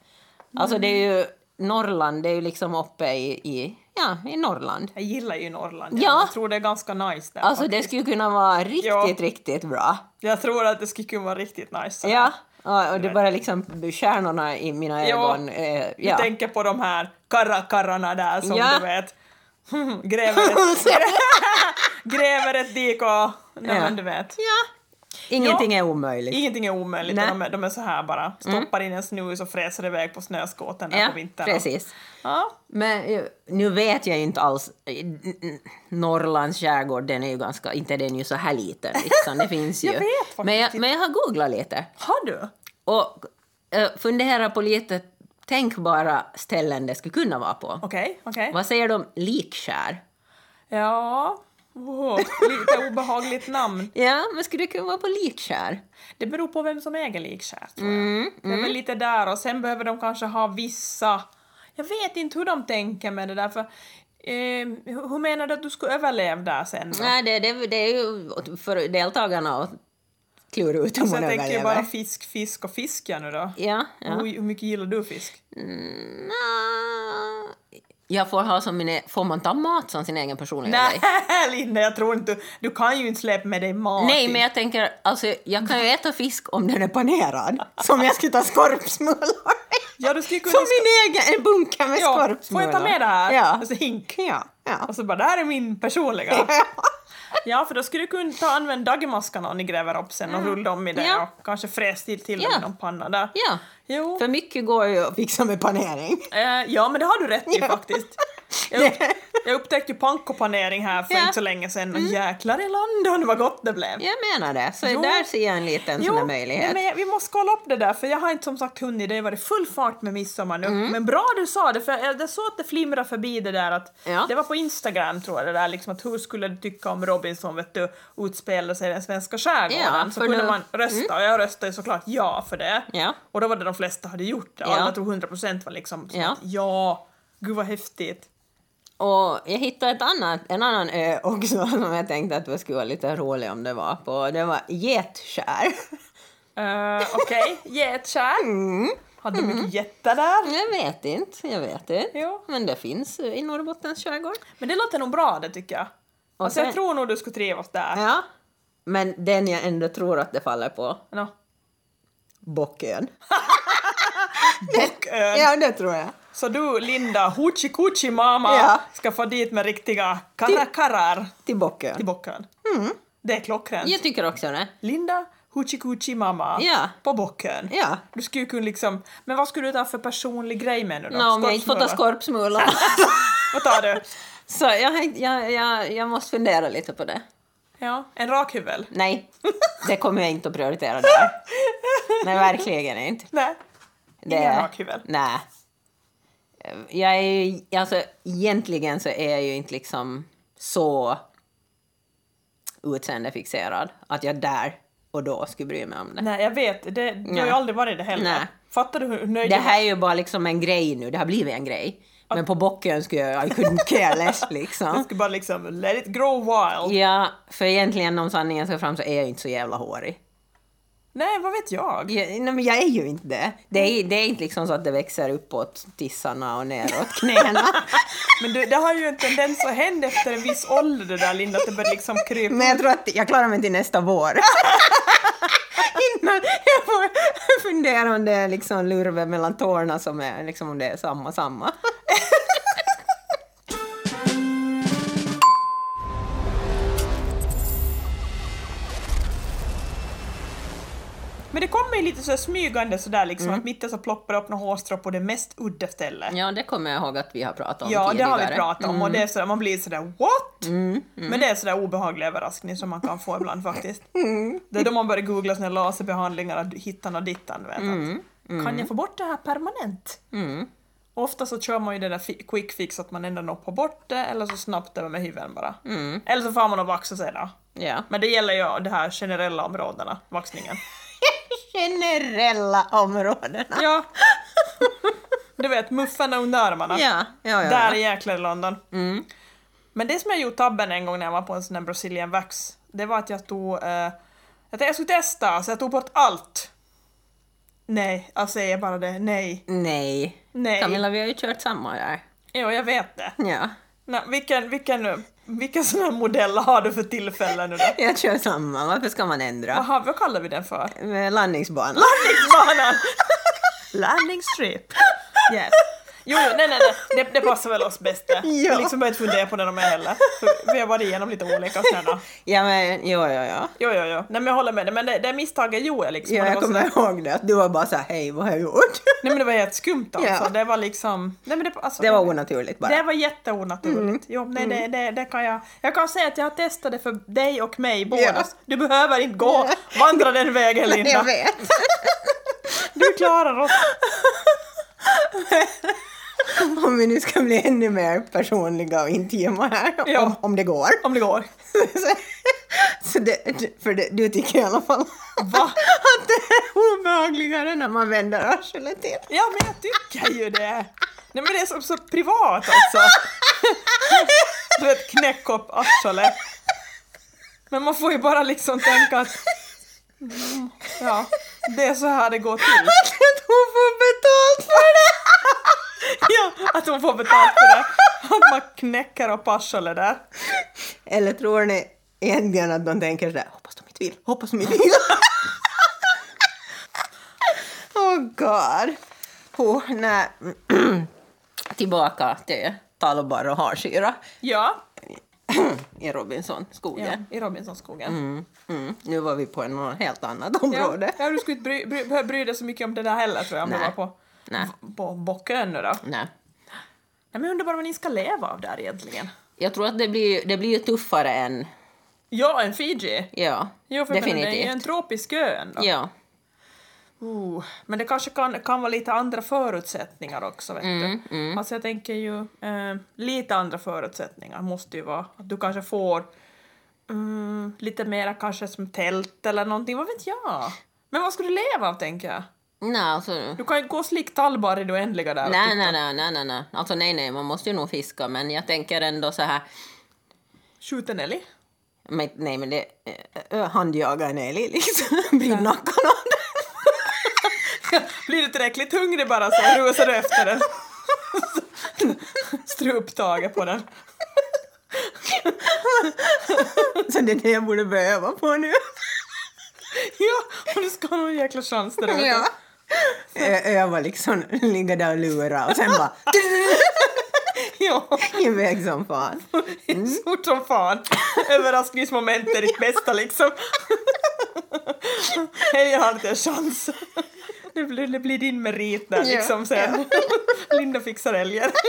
[SPEAKER 1] Alltså det är ju Norrland, det är ju liksom uppe i, i, ja, i Norrland.
[SPEAKER 2] Jag gillar ju Norrland.
[SPEAKER 1] Ja.
[SPEAKER 2] Jag tror det är ganska nice där.
[SPEAKER 1] Alltså det skulle kunna vara riktigt,
[SPEAKER 2] Ja.
[SPEAKER 1] riktigt bra.
[SPEAKER 2] Jag tror att det skulle kunna vara riktigt nice. sådär.
[SPEAKER 1] Ja, och- och det är bara liksom kärnorna i mina
[SPEAKER 2] Ja.
[SPEAKER 1] ögon. eh,
[SPEAKER 2] Du
[SPEAKER 1] Ja.
[SPEAKER 2] tänker på de här karrakarrarna där som
[SPEAKER 1] Ja.
[SPEAKER 2] du vet gräver ett, gräver ett dik och... Nej,
[SPEAKER 1] Ja.
[SPEAKER 2] men du vet.
[SPEAKER 1] ja. Ingenting är omöjligt.
[SPEAKER 2] Ingenting är omöjligt.
[SPEAKER 1] Nej. Mm.
[SPEAKER 2] De är, de är så här bara, stoppar in en snus och fräser iväg på snöskoten där
[SPEAKER 1] Ja,
[SPEAKER 2] på vintern.
[SPEAKER 1] precis.
[SPEAKER 2] Ja.
[SPEAKER 1] Men eh, nu vet jag ju inte alls. eh, n- n- Norrlands skärgård, den är ju ganska, inte den är ju så här liten. Liksom. Det finns ju.
[SPEAKER 2] Jag vet faktiskt
[SPEAKER 1] men, jag, men jag har googlat lite
[SPEAKER 2] Har du?
[SPEAKER 1] och eh, funderat på lite tänkbara ställen det skulle kunna vara på.
[SPEAKER 2] Okej, okej.
[SPEAKER 1] Vad säger de om Likskär?
[SPEAKER 2] Ja. Wow, lite obehagligt namn.
[SPEAKER 1] Ja, men skulle det kunna vara på Likskär?
[SPEAKER 2] Det beror på vem som äger Likskär tror jag.
[SPEAKER 1] Mm,
[SPEAKER 2] Det är väl lite där och sen behöver de kanske ha vissa... Jag vet inte hur de tänker med det där för... Eh, hur hur menar du att du skulle överleva där sen då?
[SPEAKER 1] Nej, det, det, det är ju för deltagarna att klura ut om
[SPEAKER 2] Så
[SPEAKER 1] man
[SPEAKER 2] jag tänker ju
[SPEAKER 1] överlever.
[SPEAKER 2] bara fisk, fisk och fisk ja nu då.
[SPEAKER 1] Ja, ja.
[SPEAKER 2] Hur, hur mycket gillar du fisk?
[SPEAKER 1] Mm, nja. Jag får ha som min e- Får man ta mat som sin egen personliga
[SPEAKER 2] Nej,
[SPEAKER 1] grej?
[SPEAKER 2] Linda, jag tror inte... Du kan ju inte släppa med dig mat.
[SPEAKER 1] Nej, men jag tänker, alltså jag kan ju äta fisk om den är panerad. Som jag skulle ta skorpsmulor.
[SPEAKER 2] Ja, du skulle kunna...
[SPEAKER 1] Som min egen, en bunke med
[SPEAKER 2] ja, får
[SPEAKER 1] skorpsmulor.
[SPEAKER 2] jag ta med det här?
[SPEAKER 1] Ja.
[SPEAKER 2] Och så hink.
[SPEAKER 1] ja, ja.
[SPEAKER 2] Och så bara, det här är min personliga. Ja, för då skulle du kunna ta, använda dagmaskarna ni gräver upp sen och rulla dem i det
[SPEAKER 1] Mm. Ja.
[SPEAKER 2] och kanske fräs till, till
[SPEAKER 1] Ja.
[SPEAKER 2] dem i någon panna där.
[SPEAKER 1] ja.
[SPEAKER 2] Jo.
[SPEAKER 1] För mycket går ju att fixa med panering.
[SPEAKER 2] Eh, ja, men det har du rätt i
[SPEAKER 1] Ja.
[SPEAKER 2] faktiskt. Jag, upp, jag upptäckte ju pankopanering här för
[SPEAKER 1] Ja. Mm.
[SPEAKER 2] inte så länge sedan och jäklar i London vad gott det blev.
[SPEAKER 1] Jag menar det. Så
[SPEAKER 2] Jo.
[SPEAKER 1] där ser jag en liten sån här möjlighet.
[SPEAKER 2] nej, men jag- vi måste kolla upp det där för jag har inte som sagt hunnit, det har varit full fart med midsommar nu.
[SPEAKER 1] Mm.
[SPEAKER 2] Men bra du sa det för jag, jag såg att det flimrade förbi det där att,
[SPEAKER 1] Ja.
[SPEAKER 2] det var på Instagram tror jag det där liksom att hur skulle du tycka om Robinson vet du utspelade sig i den svenska skärgården?
[SPEAKER 1] Ja,
[SPEAKER 2] så
[SPEAKER 1] för
[SPEAKER 2] kunde
[SPEAKER 1] nu- Mm.
[SPEAKER 2] man rösta och jag röstade ju såklart ja för det.
[SPEAKER 1] Ja.
[SPEAKER 2] Och då var det de flesta hade gjort det,
[SPEAKER 1] Ja.
[SPEAKER 2] alla tror 100% var liksom som
[SPEAKER 1] Ja.
[SPEAKER 2] att, ja, gud vad häftigt.
[SPEAKER 1] Och jag hittade ett annat, en annan ö också som jag tänkte att det skulle vara lite rolig om det var på. Det var Getskär.
[SPEAKER 2] Eh, Okej, getkärl. Hade
[SPEAKER 1] Mm.
[SPEAKER 2] du mycket jättar där?
[SPEAKER 1] Jag vet inte, jag vet inte.
[SPEAKER 2] Jo.
[SPEAKER 1] Men det finns i Norrbottens skärgård.
[SPEAKER 2] Men det låter nog bra det tycker jag.
[SPEAKER 1] Och
[SPEAKER 2] Alltså
[SPEAKER 1] sen-
[SPEAKER 2] jag tror nog du skulle trivas där.
[SPEAKER 1] Ja. Men den jag ändå tror att det faller på,
[SPEAKER 2] Nå.
[SPEAKER 1] Bockön.
[SPEAKER 2] Och, eh,
[SPEAKER 1] Ja, det tror jag.
[SPEAKER 2] Så du Linda, hoochie coochie mamma,
[SPEAKER 1] Ja.
[SPEAKER 2] ska få dit med riktiga karrakarrar
[SPEAKER 1] Till
[SPEAKER 2] till
[SPEAKER 1] Bockön.
[SPEAKER 2] Bockön. Det är klockrent.
[SPEAKER 1] Jag tycker också det.
[SPEAKER 2] Linda, hoochie coochie mamma,
[SPEAKER 1] Ja.
[SPEAKER 2] på Bockön.
[SPEAKER 1] Ja.
[SPEAKER 2] Du skulle ju kunna liksom, men vad skulle du ta för personlig grej med nu då?
[SPEAKER 1] Nå, om jag inte får ta
[SPEAKER 2] Skorpsmulor?
[SPEAKER 1] skorpsmulor.
[SPEAKER 2] Vad tar du?
[SPEAKER 1] Så jag, har inte- jag, jag, jag måste fundera lite på det.
[SPEAKER 2] Ja, en rakhyvel?
[SPEAKER 1] Nej, det kommer jag inte att prioritera där. Nej, verkligen inte.
[SPEAKER 2] Nej.
[SPEAKER 1] Det...
[SPEAKER 2] Ingen rakhyvel?
[SPEAKER 1] Nej. Jag är ju, alltså egentligen så är jag ju inte liksom så utseendefixerad att jag där och då skulle bry mig om det.
[SPEAKER 2] Nej, jag vet. Det, Jag har ju aldrig varit det heller.
[SPEAKER 1] Nej.
[SPEAKER 2] Fattar du hur nöjd
[SPEAKER 1] Det
[SPEAKER 2] jag var?
[SPEAKER 1] här är ju bara liksom en grej nu, det har blivit en grej. Men på bocken skulle jag, I couldn't care less
[SPEAKER 2] Jag
[SPEAKER 1] liksom.
[SPEAKER 2] skulle bara liksom let it grow wild.
[SPEAKER 1] Ja, för egentligen om sanningen ska fram så är jag ju inte så jävla hårig.
[SPEAKER 2] Nej, vad vet jag?
[SPEAKER 1] Ja, nej, men jag är ju inte det. Det är, det är inte liksom så att det växer uppåt tissarna och neråt knäna.
[SPEAKER 2] Men du, det har ju en tendens att hända efter en viss ålder det där Linda, att det börjar liksom krypa.
[SPEAKER 1] men jag tror att jag klarar mig till nästa vår. Innan jag får fundera om det är liksom lurve mellan tårna som är liksom om det är samma samma.
[SPEAKER 2] Men det kommer ju lite så här smygande sådär liksom att mitten så ploppar upp några hårstrå på det mest udda stället.
[SPEAKER 1] Ja, det kommer jag ihåg att vi har pratat om
[SPEAKER 2] Ja, det
[SPEAKER 1] tidigare.
[SPEAKER 2] har vi pratat om och det är sådär, man blir sådär what? Men det är sådär obehaglig överraskning som man kan få ibland faktiskt. Det är då man börjar googla såna här laserbehandlingar, hittan och dittan. Vet, att, Kan jag få bort det här permanent?
[SPEAKER 1] Mm.
[SPEAKER 2] Ofta så kör man ju den där fi- quick fix att man ändå noppar bort det eller så snabbt över med hyveln bara.
[SPEAKER 1] Mm.
[SPEAKER 2] Eller så får man och vaxa sig då.
[SPEAKER 1] Ja.
[SPEAKER 2] Men det gäller ju de här generella områdena, vaxningen.
[SPEAKER 1] Generella områdena.
[SPEAKER 2] Ja. Du vet, muffarna under armarna.
[SPEAKER 1] Ja, ja, ja.
[SPEAKER 2] Där är
[SPEAKER 1] ja.
[SPEAKER 2] jäklar i London.
[SPEAKER 1] Mm.
[SPEAKER 2] Men det som jag gjort tabben en gång när jag var på en sån där Brazilian wax, det var att jag tog... Eh, jag tänkte jag skulle testa, så jag tog bort allt. Nej, alltså jag säger bara det. Nej.
[SPEAKER 1] Nej.
[SPEAKER 2] Nej.
[SPEAKER 1] Camilla, vi har ju kört samma där.
[SPEAKER 2] Jo, jag vet det.
[SPEAKER 1] Ja,
[SPEAKER 2] Nå, vilken, vilken, vilken sån här modell har du för tillfället nu då?
[SPEAKER 1] jag kör samma. Varför ska man ändra?
[SPEAKER 2] Aha, vad kallar vi den för?
[SPEAKER 1] Eh, Landningsbana.
[SPEAKER 2] Landningsbanan! Landing strip. Yes. Jo, jo, nej, nej, nej. Det, det passar väl oss bäst det. Jag har liksom börjat fundera på den om jag heller. För vi har varit igenom lite olika sådana.
[SPEAKER 1] Ja, men jo, jo, jo.
[SPEAKER 2] Jo, jo, jo. Nej, men jag håller med dig. Men det, det misstaget gjorde jag liksom.
[SPEAKER 1] Ja,
[SPEAKER 2] Och det
[SPEAKER 1] jag
[SPEAKER 2] var så-
[SPEAKER 1] kommer ihåg det. att Du var bara såhär, hej, vad har jag gjort?
[SPEAKER 2] Nej, men det var helt skumt alltså.
[SPEAKER 1] Ja.
[SPEAKER 2] Det var liksom... Nej, men det, alltså,
[SPEAKER 1] Det var onaturligt Mm. bara.
[SPEAKER 2] Det var jätteonaturligt. Jo, nej, det, det, det kan jag... Jag kan säga att jag har testat det för dig och mig båda.
[SPEAKER 1] Ja.
[SPEAKER 2] Du behöver inte gå vandra den vägen,
[SPEAKER 1] Nej, jag
[SPEAKER 2] Linda.
[SPEAKER 1] vet.
[SPEAKER 2] Du klarar oss.
[SPEAKER 1] Om vi nu ska bli ännu mer personliga och intima här,
[SPEAKER 2] Ja.
[SPEAKER 1] om, om det går.
[SPEAKER 2] Om det går.
[SPEAKER 1] Så det, för det, du tycker i alla fall
[SPEAKER 2] Va?
[SPEAKER 1] att det är obehagligare när man vänder arslet till.
[SPEAKER 2] Ja, men jag tycker ju det. Nej, men det är så, så privat alltså. Du vet, knäck upp arslet. Men man får ju bara liksom tänka att... mm, Ja, det är så här det går till.
[SPEAKER 1] Att hon får betalt för det!
[SPEAKER 2] Ja, att hon får betalt för det. Att man knäcker upp arslet där.
[SPEAKER 1] Eller tror ni egentligen att de tänker sådär, hoppas de inte vill, hoppas de inte vill. oh god. Oh, nej. Tillbaka till talbar och harsyra
[SPEAKER 2] Ja,
[SPEAKER 1] i Robinsonskogen.
[SPEAKER 2] ja i Robinsonskogen.
[SPEAKER 1] Mm, mm. Nu var vi på något helt annat
[SPEAKER 2] Ja,
[SPEAKER 1] område.
[SPEAKER 2] ja, du skulle inte bry, bry, behöva bry dig så mycket om det där heller tror jag om du var
[SPEAKER 1] Nej.
[SPEAKER 2] på,
[SPEAKER 1] Nej,
[SPEAKER 2] på Bockön nu då.
[SPEAKER 1] nej.
[SPEAKER 2] Nej, men jag undrar bara vad ni ska leva av där egentligen.
[SPEAKER 1] Jag tror att det blir, det blir ju tuffare än,
[SPEAKER 2] Ja, en Fiji.
[SPEAKER 1] ja,
[SPEAKER 2] Jo, för jag menar, det är ju en tropisk ö ändå.
[SPEAKER 1] Ja.
[SPEAKER 2] Oh, men det kanske kan, kan vara lite andra förutsättningar också, vet
[SPEAKER 1] Mm,
[SPEAKER 2] du. Alltså jag tänker ju, eh, lite andra förutsättningar måste ju vara. Att du kanske får mm, lite mera kanske som tält eller någonting, vad vet jag? Men vad ska du leva av, tänker jag?
[SPEAKER 1] Nej, alltså,
[SPEAKER 2] Du kan ju inte gå och slicka tallbar i det oändliga där. och
[SPEAKER 1] Nej, nej,
[SPEAKER 2] titta.
[SPEAKER 1] nej, nej, nej, nej. Alltså nej, nej, man måste ju nog fiska, men jag tänker ändå så här.
[SPEAKER 2] Skjut en älg.
[SPEAKER 1] Men, nej, men det... Äh, handjaga en älg liksom. Blir nacken av den.
[SPEAKER 2] Blir du tillräckligt hungrig bara så rusar du efter den. Struptaget på den.
[SPEAKER 1] Så det är det jag borde börja öva på nu.
[SPEAKER 2] Ja, och du ska ha någon jäkla chans där ute.
[SPEAKER 1] Ja. Ö- Öva liksom, ligga där och lura och sen bara
[SPEAKER 2] Ja.
[SPEAKER 1] iväg som fan. Mm.
[SPEAKER 2] Stort som fan. Överraskningsmoment är ditt bästa liksom. Hej, jag har inte en chans. Det blir, det blir din merit där
[SPEAKER 1] Ja,
[SPEAKER 2] liksom sen. Linda fixar älgen.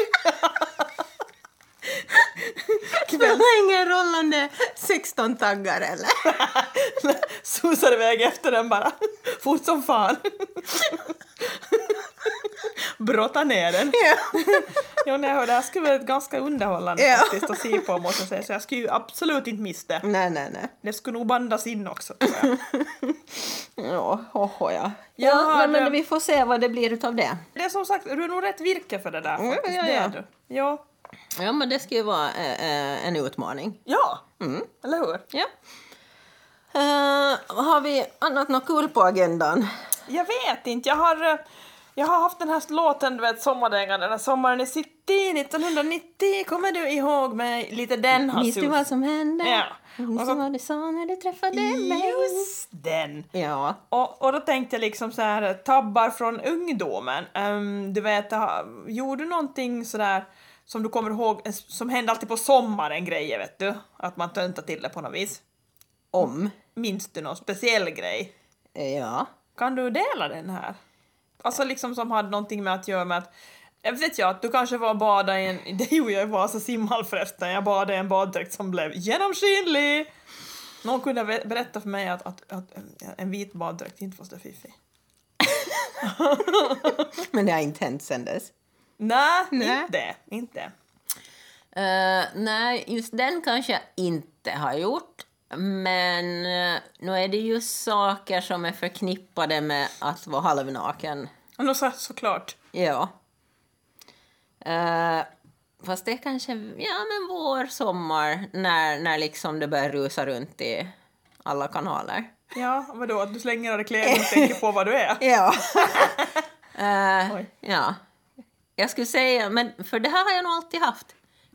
[SPEAKER 1] Det spelar ingen roll om det är 16 taggar eller?
[SPEAKER 2] Susar iväg efter den bara. Fort som fan. Brotta ner den.
[SPEAKER 1] Ja.
[SPEAKER 2] Jo, när jag hörde det här skulle vara ganska underhållande
[SPEAKER 1] Ja.
[SPEAKER 2] faktiskt att se på måste jag säga. Så jag skulle ju absolut inte missa det.
[SPEAKER 1] Nej, nej, nej.
[SPEAKER 2] Det skulle nog bandas in också tror jag.
[SPEAKER 1] Ja, oh, ja.
[SPEAKER 2] Ja,
[SPEAKER 1] Ja, men
[SPEAKER 2] det-
[SPEAKER 1] vi får se vad det blir utav det.
[SPEAKER 2] Det är som sagt, du är nog rätt virke för det där
[SPEAKER 1] Mm,
[SPEAKER 2] faktiskt.
[SPEAKER 1] ja,
[SPEAKER 2] Det är
[SPEAKER 1] ja.
[SPEAKER 2] du. Ja.
[SPEAKER 1] Ja, men det ska ju vara eh, eh, en utmaning.
[SPEAKER 2] Ja, eller hur?
[SPEAKER 1] Ja. Eh, har vi annat något kul på agendan?
[SPEAKER 2] Jag vet inte, jag har, eh, jag har haft den här låten, du vet, Sommardängan, den här Sommaren i city 1990, kommer du ihåg mig? Lite den har
[SPEAKER 1] Minns du
[SPEAKER 2] sus-
[SPEAKER 1] vad som hände?
[SPEAKER 2] Ja.
[SPEAKER 1] Minns
[SPEAKER 2] Och så-
[SPEAKER 1] du vad du sa när du träffade mig?
[SPEAKER 2] Just den!
[SPEAKER 1] Ja.
[SPEAKER 2] Och, och då tänkte jag liksom så här tabbar från ungdomen. Ehm, du vet, ha- gjorde du någonting sådär som du kommer ihåg, eh, som hände alltid på sommaren grejer vet du? Att man töntar till det på något vis.
[SPEAKER 1] Om.
[SPEAKER 2] Minns du någon speciell grej?
[SPEAKER 1] Eh, Ja.
[SPEAKER 2] Kan du dela den här? Alltså liksom som hade någonting med att göra med att jag vet jag att du kanske var och badade i en, det gjorde jag i Vasa simhall förresten, jag badade i en baddräkt som blev genomskinlig! Någon kunde be- berätta för mig att, att, att en vit baddräkt inte var så fiffig.
[SPEAKER 1] Men det har inte hänt sen dess.
[SPEAKER 2] Nej,
[SPEAKER 1] Nej.
[SPEAKER 2] inte. inte.
[SPEAKER 1] Eh, nej, just den kanske jag inte har gjort. Men eh, nu är det ju saker som är förknippade med att vara halvnaken.
[SPEAKER 2] Och då sa jag såklart,
[SPEAKER 1] Ja. Eh, fast det är kanske, ja men vår, sommar, när, när liksom det börjar rusa runt i alla kanaler.
[SPEAKER 2] ja vadå, att du slänger av dig kläderna och tänker på vad du är?
[SPEAKER 1] Ja. Eh,
[SPEAKER 2] Oj.
[SPEAKER 1] ja. Jag skulle säga, men för det här har jag nog alltid haft.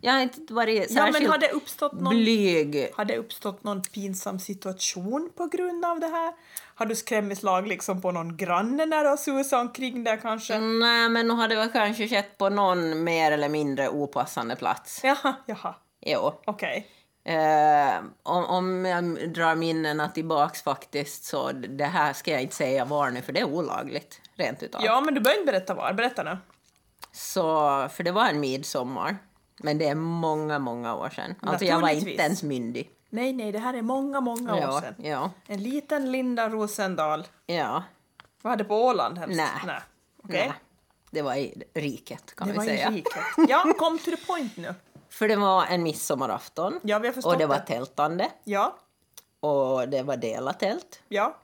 [SPEAKER 1] Jag har inte varit
[SPEAKER 2] Ja
[SPEAKER 1] särskilt
[SPEAKER 2] men har det uppstått någon
[SPEAKER 1] blyg.
[SPEAKER 2] Har det uppstått någon pinsam situation på grund av det här? Har du skrämmislag liksom på någon granne när du har susat omkring där kanske?
[SPEAKER 1] Nej, men nog hade det väl kanske skett på någon mer eller mindre opassande plats.
[SPEAKER 2] Jaha, jaha,
[SPEAKER 1] Jo.
[SPEAKER 2] okej.
[SPEAKER 1] Eh, om, om jag drar minnena tillbaks faktiskt, så det här ska jag inte säga var nu, för det är olagligt, rent utav.
[SPEAKER 2] Ja, men du behöver inte berätta var, berätta nu.
[SPEAKER 1] Så, för det var en midsommar. Men det är många, många år sedan. Alltså jag var
[SPEAKER 2] Naturligtvis.
[SPEAKER 1] inte ens myndig.
[SPEAKER 2] Nej, nej, det här är många, många år
[SPEAKER 1] ja,
[SPEAKER 2] sedan.
[SPEAKER 1] ja,
[SPEAKER 2] En liten Linda Rosendal.
[SPEAKER 1] ja.
[SPEAKER 2] Vad hade på Åland helst?
[SPEAKER 1] Nej.
[SPEAKER 2] nej. Okej.
[SPEAKER 1] Nej, det var i riket, kan
[SPEAKER 2] Det
[SPEAKER 1] vi
[SPEAKER 2] var
[SPEAKER 1] säga.
[SPEAKER 2] ju riket. Ja, kom to the point nu.
[SPEAKER 1] För det var en midsommarafton.
[SPEAKER 2] Ja, vi har förstått
[SPEAKER 1] och det var
[SPEAKER 2] det.
[SPEAKER 1] tältande.
[SPEAKER 2] Ja,
[SPEAKER 1] Och det var delat tält.
[SPEAKER 2] ja,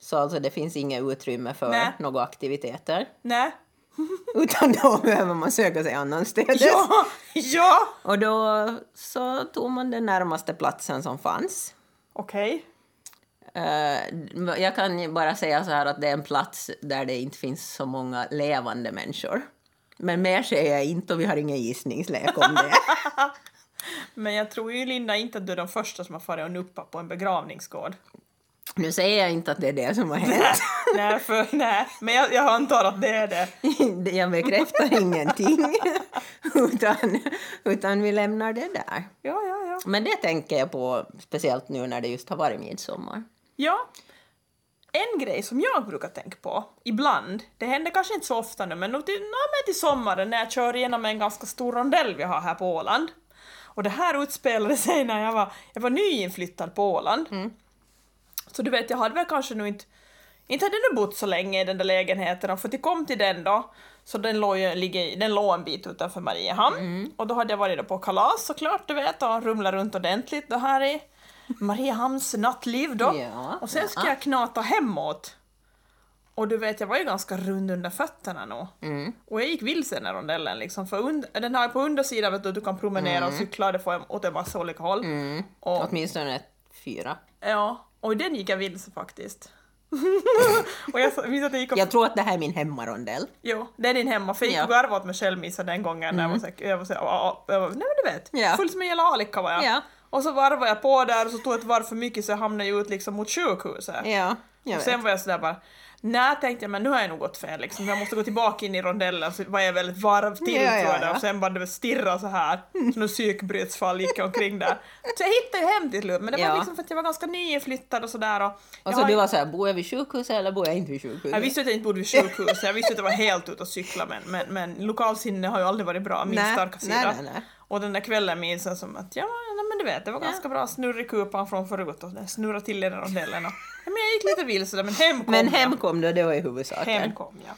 [SPEAKER 1] Så alltså det finns inget utrymme för
[SPEAKER 2] Nej.
[SPEAKER 1] några aktiviteter.
[SPEAKER 2] nej.
[SPEAKER 1] Utan då behöver man söka sig annanstädes.
[SPEAKER 2] Ja, ja!
[SPEAKER 1] Och då så tog man den närmaste platsen som fanns.
[SPEAKER 2] Okej.
[SPEAKER 1] Eh, Jag kan ju bara säga så här att det är en plats där det inte finns så många levande människor. Men mer säger jag inte och vi har ingen gissningslek om det.
[SPEAKER 2] Men jag tror ju Linda inte att du är den första som har farit och nuppat på en begravningsgård.
[SPEAKER 1] Nu säger jag inte att det är det som har hänt.
[SPEAKER 2] nej, för, nej, men jag, jag antar att det är det.
[SPEAKER 1] Jag bekräftar ingenting. Utan, utan vi lämnar det där.
[SPEAKER 2] Ja, ja, ja.
[SPEAKER 1] Men det tänker jag på speciellt nu när det just har varit midsommar.
[SPEAKER 2] Ja. En grej som jag brukar tänka på ibland, det händer kanske inte så ofta nu, men nog till, nå, men till sommaren när jag kör igenom en ganska stor rondell vi har här på Åland. Och det här utspelade sig när jag var, jag var nyinflyttad på Åland. Så du vet, jag hade väl kanske nu inte, inte hade nu bott så länge i den där lägenheten, och för att jag kom till den då, så den låg, ju- ligger, i- den låg en bit utanför Mariehamn.
[SPEAKER 1] Mm.
[SPEAKER 2] Och då hade jag varit då på kalas såklart, du vet, och rumlat runt ordentligt då här i Mariehamns nattliv då.
[SPEAKER 1] Ja,
[SPEAKER 2] och sen ska jag knata hemåt. Och du vet, jag var ju ganska rund under fötterna nog.
[SPEAKER 1] Mm.
[SPEAKER 2] Och jag gick vilse i den här rondellen liksom, för und- den här på undersidan vet du, du kan promenera
[SPEAKER 1] Mm.
[SPEAKER 2] och cykla, det får jag åt en massa olika håll. Och
[SPEAKER 1] Åtminstone fyra.
[SPEAKER 2] Ja, och den gick jag vilse faktiskt. och jag sa- minns att jag gick och...
[SPEAKER 1] Jag tror att det här är min hemmarondell.
[SPEAKER 2] Jo, det är din hemma, för jag gick
[SPEAKER 1] Ja. Mm.
[SPEAKER 2] och garvade åt mig själv missa den gången. när Jag var så, jag var så, jag var- jag var, nej men du vet,
[SPEAKER 1] Ja.
[SPEAKER 2] full som en jävla alika var jag.
[SPEAKER 1] Ja.
[SPEAKER 2] Och så varvade jag på där och så tog jag ett varv för mycket så jag hamnade ju ut liksom mot sjukhuset.
[SPEAKER 1] Ja, jag
[SPEAKER 2] Och
[SPEAKER 1] vet.
[SPEAKER 2] sen var jag sådär bara, nej tänkte jag men nu har jag nog gått fel liksom. Jag måste gå tillbaka in i rondellen så var jag väl ett varv till
[SPEAKER 1] Ja,
[SPEAKER 2] tror
[SPEAKER 1] ja,
[SPEAKER 2] jag där.
[SPEAKER 1] ja.
[SPEAKER 2] och sen bara du vet, stirra så här. Så något psykbrytsfall gick jag omkring där. Så jag hittade ju hem till slut men det var
[SPEAKER 1] Ja.
[SPEAKER 2] liksom för att jag var ganska nyinflyttad och sådär. Och, jag
[SPEAKER 1] Och så
[SPEAKER 2] har-
[SPEAKER 1] du Alltså, var så här, bor jag vid sjukhuset eller bor jag inte vid
[SPEAKER 2] jag
[SPEAKER 1] sjukhuset?
[SPEAKER 2] visste att jag inte bodde vid sjukhus, jag visste att jag var helt ute och cykla men, men, men lokalsinne har ju aldrig varit bra, min
[SPEAKER 1] Nej,
[SPEAKER 2] starka sida.
[SPEAKER 1] nej, nej, nej.
[SPEAKER 2] Och den där kvällen minns jag som att, ja nej, men du vet, det var ganska bra snurr i kupan från förut och den snurrade till i den rondellen och, ja, men jag gick lite vilse där men hem kom
[SPEAKER 1] Men
[SPEAKER 2] jag.
[SPEAKER 1] hem kom du, det var ju huvudsaken.
[SPEAKER 2] hem kom jag.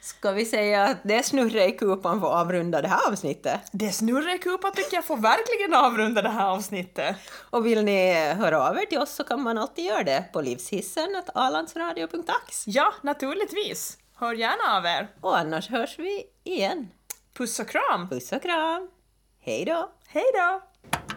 [SPEAKER 1] Ska vi säga att det snurrar i kupan för att avrunda det här avsnittet?
[SPEAKER 2] Det snurrar i kupan tycker jag får verkligen avrunda det här avsnittet.
[SPEAKER 1] Och vill ni höra av er till oss så kan man alltid göra det på livshissen alandsradio.ax.
[SPEAKER 2] Ja, naturligtvis. Hör gärna av er.
[SPEAKER 1] Och annars hörs vi igen.
[SPEAKER 2] Puss och kram.
[SPEAKER 1] Puss och kram! Hej då!
[SPEAKER 2] Hej då!